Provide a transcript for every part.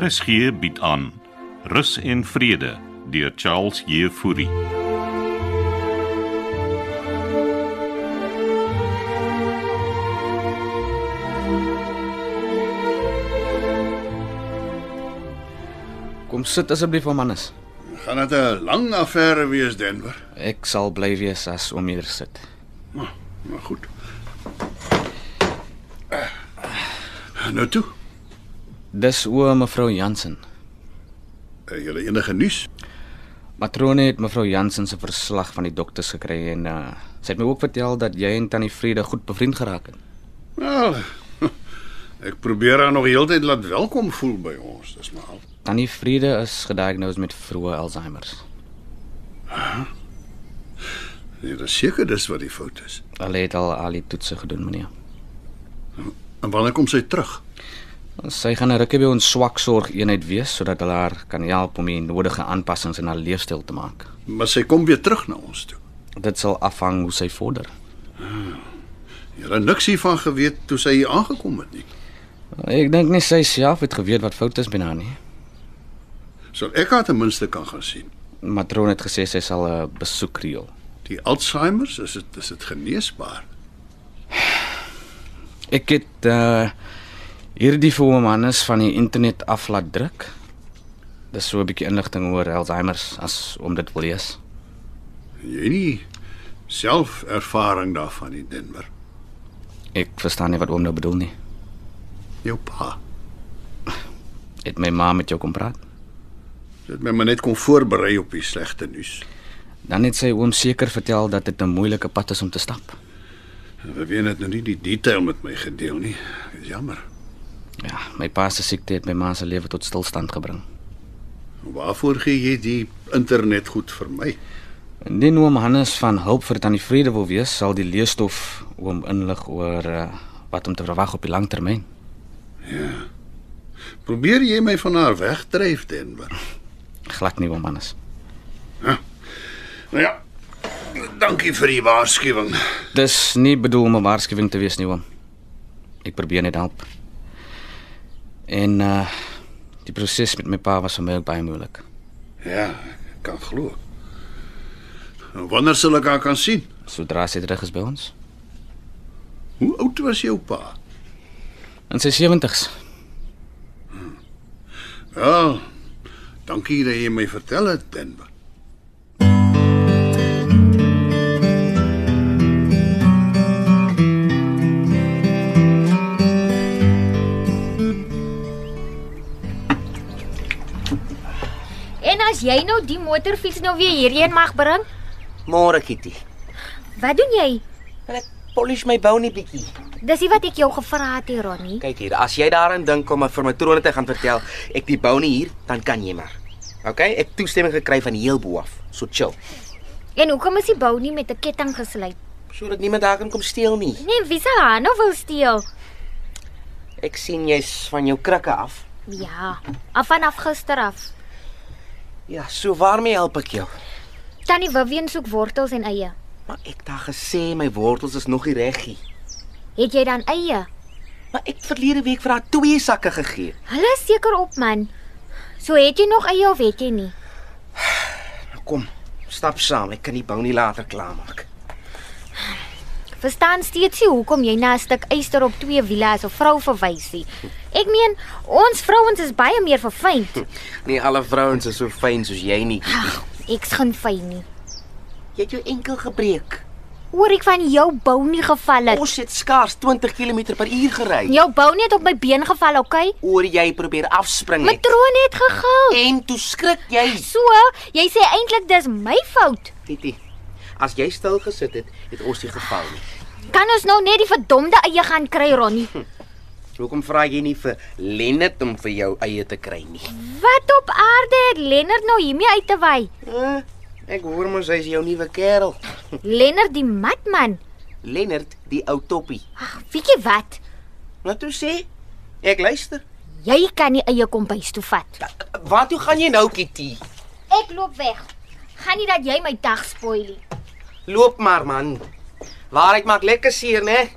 RSG bied aan Rus en Vrede deur Charles Jefouri. Kom sit asseblief, Amanus. Gaan dit 'n lang affære wees Denver? Ek sal bly wees as om hier sit. Maar, maar goed. Nou toe. Dis oom mevrou Jansen. eh, Julle enige nuus? Matrone het mevrou Jansen se verslag van die dokters gekry en uh, sy het my ook vertel dat jy en tannie Vrede goed bevriend geraak het. Wel. Ek probeer haar nog heeltyd laat welkom voel by ons, dis maar al. Tannie Vrede is gediagnoseer met vroeë Alzheimer. Nee, dis seker dis wat die fout is. Hulle het al al die toetse gedoen, meneer. En wanneer kom sy terug? Sy gaan 'n rukkie by ons swaksorgeenheid wees sodat hulle haar kan help om die nodige aanpassings in haar leefstyl te maak. Maar sy kom weer terug na ons toe. Dit sal afhang hoe sy vorder. Julle het niks hiervan geweet toe sy hier aangekom het nie. Ek dink nie sy self het geweet wat fout is binne haar nie. Sal ek haar ten minste kan gaan sien. Matroon het gesê sy sal 'n besoek reël. Die Alzheimer's, is dit is dit geneesbaar? Ek het uh hierdie vir hom Hannes van die internet af laat druk. Dis so 'n bietjie inligting oor Alzheimer as om dit wil lees. Jy nie self ervaring daarvan nie, Denver. Ek verstaan nie wat oom nou bedoel nie. Jou pa. Het my ma met jou kom praat? Dit my maar net kon voorberei op die slegte nuus. Dan het sy oom seker vertel dat dit 'n moeilike pad is om te stap. We weet net nou nie die detail met my gedeel nie. Dis jammer. Ja, my pa se siekte het my ma se lewe tot stilstand gebring. Waarvoor gee jy die internet goed vir my? Indien oom Hannes van hulp vir tannie Vrede wil wees, sal die leesstof oom inlig oor uh, wat om te verwag op die lang termyn. Probeer jy my van haar wegdryf, Denver? Glad nie oom Hannes. Nou ja. Dankie vir die waarskuwing. Dis nie bedoel om 'n waarskuwing te wees nie, oom. Ek probeer net help. En uh die proses met my pa was vir my ook baie moeilik. Ja, ek kan glo. En Wanneer sal ek haar kan sien? Sodra sy terug is by ons, Hoe oud was jou pa? in sy 70's. Wel, Ja, dankie dat jy my vertel het, Denver. En as jy nou die motorfiets nou weer hierheen mag bring, Môre Kitty. wat doen jy? Wil ek polish my bou net bietjie. Dis nie wat ek jou gevra het, hier, Ronnie. Kyk hier, as jy daaraan dink om vir my troon te gaan vertel ek die bou nie hier, dan kan jy maar. OK, ek toestemming gekry van heel bo af. So chill. En hoekom is die bou nie met 'n ketting gesluit? Sodat niemand daar kan kom steel nie. Nee, wie sal haar nou wil steel? Ek sien jy's van jou krikke af. Ja, af vanaf gister af. Ja, so waarmee help ek jou? Tannie Vivian soek wortels en eie. Maar ek het gesê my wortels is nog nie reggie. Het jy dan eie? Maar ek het verlede week vir haar twee sakke gegee. Hulle is seker op, man. So het jy nog eie of het jy nie? Nou kom, stap saam, ek kan die bou nie later klaarmaak. Verstaan steeds nie hoekom jy na 'n stuk yster op twee wiele as 'n vrou verwys nie. Ek meen, ons vrouens is baie meer verfyn. Nie Nee, alle vrouens is so fyn soos jy nie. Ag, ek's geen fyn nie. Jy het jou enkel gebreek. Hoor ek van jou bou nie geval het. Ons het skaars 20 km/h gery. Jou bou net op my been geval, okay? Oor jy probeer afspring My het. troon het gegil. En toe skrik jy. So, jy sê eintlik dis my fout. Titi. As jy stil gesit het, het ons nie geval nie. Kan ons nou net die verdomde eie gaan kry, Ronnie? Hoekom vra jy nie vir Lennet om vir jou eie te kry nie? Wat op aarde het Lennard nou hiermee uit te wy? Uh, ek hoor mos hy's jou nuwe kerel. Lennard die matman. Lennert, die ou toppie. Ag, weet jy wat? Wat Nou toe sê? Ek luister. Jy kan nie eie kom bys toe Ja. vat. Waar toe gaan jy nou, Kitty? Ek loop weg. Gaan nie dat jy my dag spoil nie. Loop maar man. Waarheid maak lekker seer, né?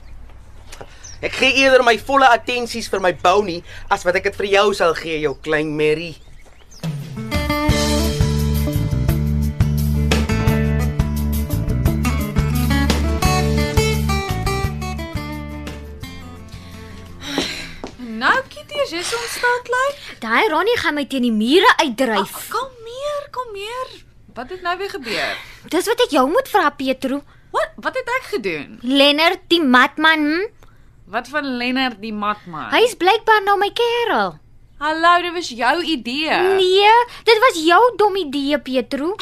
Ek gee eerder my volle attensies vir my Bonnie as wat ek dit vir jou sal gee, jou klein Mary. Nou Kitty, jy's ontstel klein. Daai Ronnie gaan my teen die mure uitdryf. Kom meer, kom meer. Wat het nou weer gebeur? Dis wat ek jou moet vra, Petro. Wat wat het ek gedoen? Lennard die matman. Hm? Wat van Lennard die matman? Hy is blykbaar nou my kerel. Hallo, dit was jou idee. Nee, dit was jou dom idee, Petro.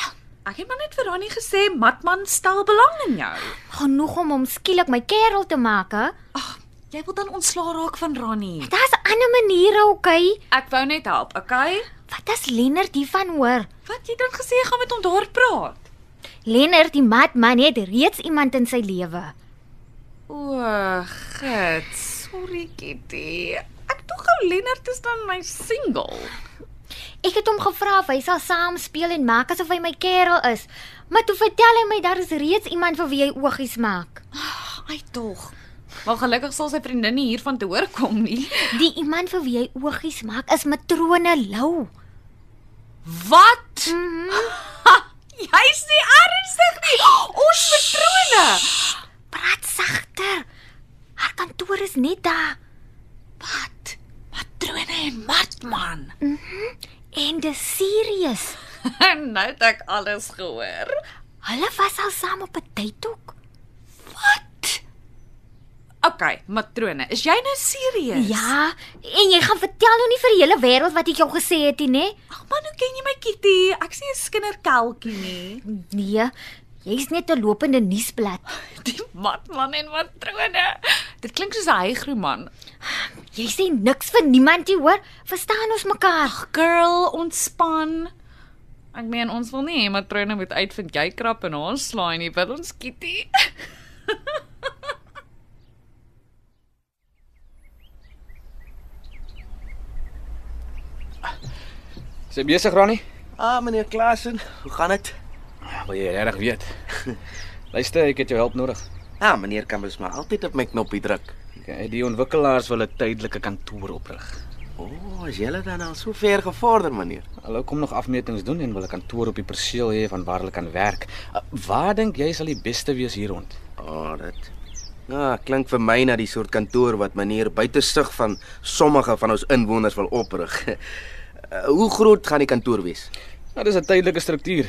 Ek het maar net vir Ronnie gesê matman stel belang in jou. Genoeg om hom skielik my kerel te maak, hè? Jy wil dan ontslaa raak van Ronnie. Daar's ander maniere, okay? Ek wou net help, okay? Wat as Lennard hiervan hoor? Wat jy dan gesê jy gaan met hom daar praat? Lennard die matman het reeds iemand in sy lewe. O, gits. Sorry Kitty. Ek dink ou Lennard is dan my single. Ek het hom gevra of hy sal saam speel en maak asof hy my kerel is, maar toe vertel hy my daar is reeds iemand vir wie hy oogies maak. Ai tog. Maar gelukkig sal sy vriendin nie hiervan te hoor kom nie. Die iemand vir wie hy oogies maak is matrone Lou. Wat? Mhm. Jy's nie ernstig nie. Ons matrone. Praat sagter. Haar kantoor is net daar Wat? Matrone en matman. en dis serieus. nou het ek alles gehoor. Hulle was al saam op 'n date ook. Wat? Okay, matrone, is jy nou serieus? Ja, en jy gaan vertel nou nie vir die hele wêreld wat ek jou gesê het nie, né? Ag man, hoe ken jy my Kitty? Ek's nie 'n skinderkelkie nie. Nee, jy's net 'n lopende nuusblad. Die matman en matrone. Dit klink soos 'n hygroman. Jy sê niks vir niemand nie, hoor? Verstaan ons mekaar? Girl, ontspan. Ek meen ons wil nie hê matrone moet uitvind jy krap en haar slaai nie, wil ons Kitty? Is jy besig, Ronnie? Ah, meneer Klasen, hoe gaan dit? Ja, Wil jy regtig weet? Luister, ek het jou help nodig. Ah, meneer Kambers maar altyd op my knoppie druk. Okay, die ontwikkelaars wil 'n tydelike kantoor oprig. O, oh, is julle dan al so ver gevorder, meneer? Hulle kom nog afmetings doen en wil 'n kantoor op die perseel hê van waar hulle kan werk. Uh, Waar dink jy sal die beste wees hier rond? O, oh, dit. Ja, ah, klink vir my na die soort kantoor wat meneer buite sig van sommige van ons inwoners wil oprig. Uh, hoe groot gaan die kantoor wees? Nou, dis 'n tydelike struktuur.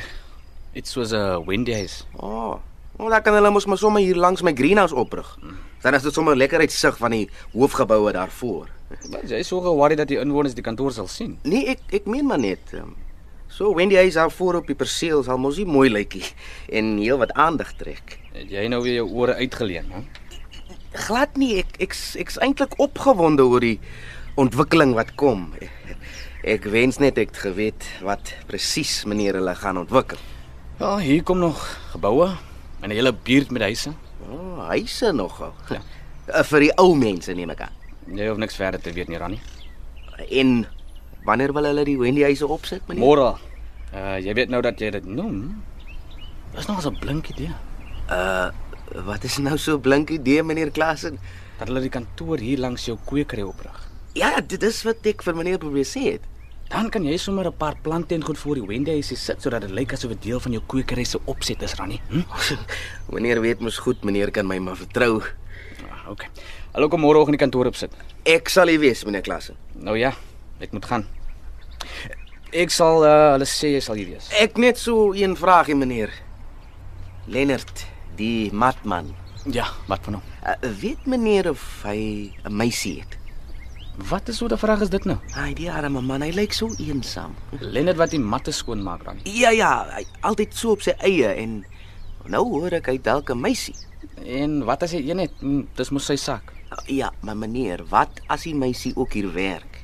Iets soos 'n Wendy's. O, oh, oh, dan kan hulle mos maar sommer hier langs my greenhouse oprig. Dan is dit sommer lekker uitsig van die hoofgeboue daarvoor. Wat jy so ge-worry dat die inwoners die kantoor sal sien. Nee, ek ek meen maar net. ehm, So Wendy hy is daar voor op die perseel sal mos nie mooi lykie en heel wat aandag trek. Het jy nou weer jou ore uitgeleen, hè? Glad nie, ek ek's ek's eintlik opgewonde oor die ontwikkeling wat kom. Ek wens net ek het geweet wat presies meneer hulle gaan ontwikkel. Ja, hier kom nog geboue en 'n hele buurt met huise. O, oh, hyse nogal. Ja. Eh, Vir die ou mense neem ek aan. Jy hoef niks verder te weet nie, Ronnie. En wanneer wil hulle die Wendy huise opsit, meneer? Môre. Uh jy weet nou dat jy dit noem. Dis nog so 'n blink idee Uh, wat is nou so blink idee, meneer Klasen? dat hulle die kantoor hier langs jou kweekery oprig. Ja, dit is wat ek vir meneer probeer sê het. Dan kan jy sommer 'n paar plante en goed voor die Wendy's sit sodat dit lyk asof dit deel van jou kweekery se opset is, Ronnie. Hm? Meneer weet mos goed, meneer kan my maar vertrou. Ah, okay. Hallo kom môreoggend die kantoor op sit. Ek sal hier wees, meneer Klasen. Nou ja, ek moet gaan. Ek sal uh, hulle sê jy sal hier wees. Ek net so een vraagie, meneer. Lennard, die matman. Ja, wat van hom? Uh, weet meneer of hy 'n meisie het? Wat is so 'n vraag is dit nou? Ai, die arme man, hy lyk so eensaam. Lennard wat die matte skoon maak, Ronnie. Ja ja, hy altyd so op sy eie en nou hoor ek hy dalk 'n meisie. En wat as jy een het? Hm, Dis mos sy sak. Uh, Ja, maar meneer, wat as die meisie ook hier werk?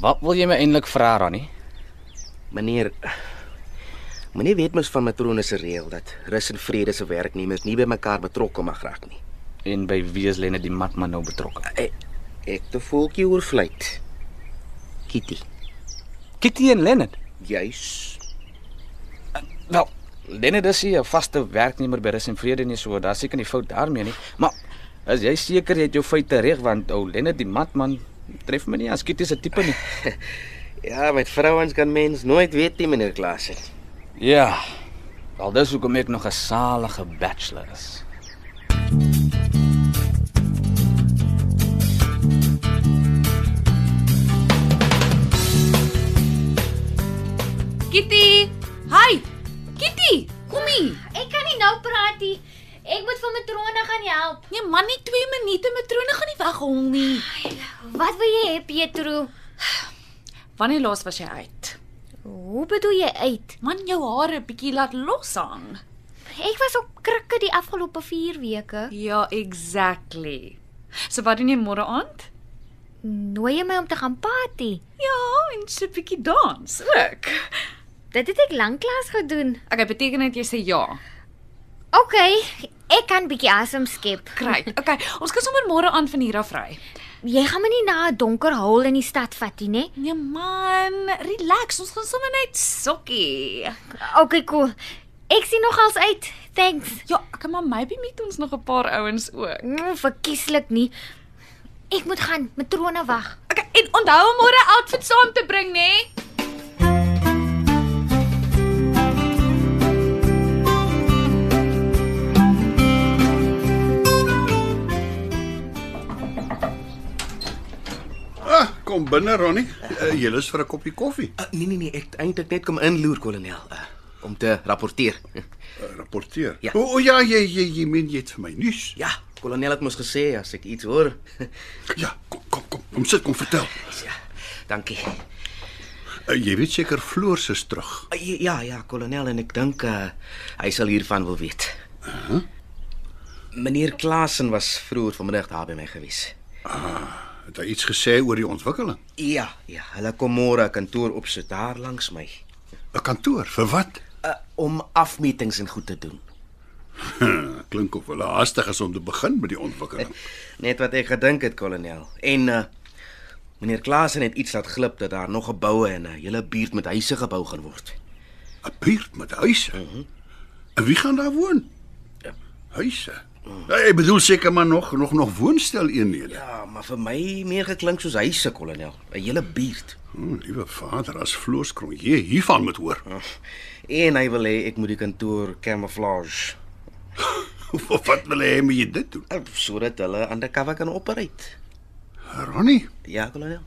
Wat wil jy my eintlik vra, Ronnie? Meneer Meneer weet mos van matrone se reël dat rus en vrede se werknemers nie by mekaar betrokke mag raak nie. En by wie is Lennard die matman nou betrokke? Ek, ek te voeltjie oor vlieg. Kitty. Kitty en Lennard. Juis. Wel, Lennard is nie 'n vaste werknemer by Rus en Vrede nie, so daar seker nie fout daarmee nie. Maar As jy seker jy het jou feite reg want ou Lennard die matman tref my nie as kritiese tipe nie. Ja, met vrouens kan mens nooit weet nie, meneer Klasen. Ja. Al dis hoekom ek nog 'n salige bachelor is. Kitty. Hi. Kitty, kom hier. Ek kan nie nou praat nie. Ek moet vir matrone gaan help. Nee man, nie 2 minute matrone gaan nie weghol nie. Wat wil jy hê, Pietro? Wanneer laas was jy uit? Hoe bedoel jy uit? Man, jou hare bietjie laat loshang. Ek was op krikke die afgelope 4 weke. Ja, exactly. So wat doen jy môre aand? Nooi jy my om te gaan party? Ja, en so 'n bietjie dans ook. Dit het ek lanklaas gedoen. Okay, beteken dit jy sê ja. OK, ek kan bietjie asem skep. Great. Okay, ons kan sommer môre aand van hier af ry. Jy gaan my nie na 'n donker hol in die stad vat nie, né? Nee man, relax, ons gaan sommer net sokkie. OK, cool. Ek sien nogals uit. Thanks. Ja, okay, maar maybe meet ons nog 'n paar ouens ook. Mm, verkieslik nie. Ek moet gaan, matrone wag. Okay, en onthou om môre outfit saam te bring, né? Nee? Ah, kom binne Ronnie. Uh, jy lus vir 'n koppie koffie? Uh, nee nee nee, ek het eintlik net kom inloer, kolonel, uh, om te rapporteer. Uh, rapporteer. Ja. O oh, ja, jy jy jy meen jy het vir my nuus. Ja, kolonel het mos gesê as ek iets hoor. Ja, kom kom kom. Kom sit, kom vertel. ja, dankie. Uh, jy weet seker Floor se is terug. Uh, ja ja, kolonel en ek dink uh, hy sal hiervan wil weet. Uh -huh. Meneer Klasen was vroeër vanmiddag daar by my gewees. Het hy iets gesê oor die ontwikkeling? Ja, ja, hulle kom môre 'n kantoor opsit daar langs my 'n Kantoor vir wat? uh, om afmetings en goed te doen. Hm, Klink of hulle haastig is om te begin met die ontwikkeling. Eh. Net wat ek gedink het, kolonel. En uh meneer Klasen het iets laat glip dat daar nog geboue in 'n hele buurt met huise gebou gaan word. 'n Buurt met huise. Mhm. En wie gaan daar woon? Huise. Ja, ek bedoel seker maar nog nog nog woonsteleenhede. Mm. Ja, maar vir my meer geklink soos huise, kolonel. 'n Hele buurt. O, Hm, liewe vader, as Floor Skronje hiervan moet hoor. En hy wil hê ek moet die kantoor camouflage Ah. Wat wil hy hê moet jy dit doen? uh, sodat hulle undercover kan operate. Eh, Ronnie, Ja, kolonel.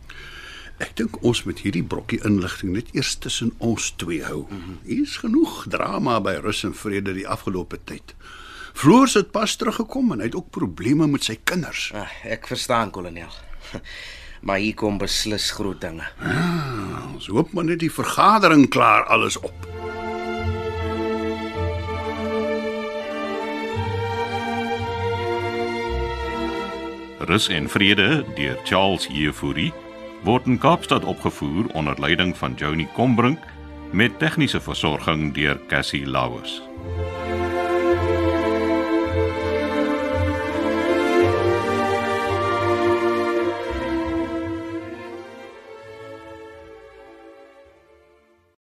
ek dink ons moet hierdie brokkie inligting net eers tussen ons twee hou. Mm -hmm. Hier's genoeg drama by Rus en Vrede die afgelope tyd. Floor het pas teruggekom en hy het ook probleme met sy kinders. Ah, ek verstaan, kolonel. Maar hier kom beslis groot dinge. Ons hoop maar net die vergadering klaar alles op. Rus en Vrede deur Charles Jefouri word in Kaapstad opgevoer onder leiding van Johnny Combrink met tegniese versorging deur Cassie Lauers.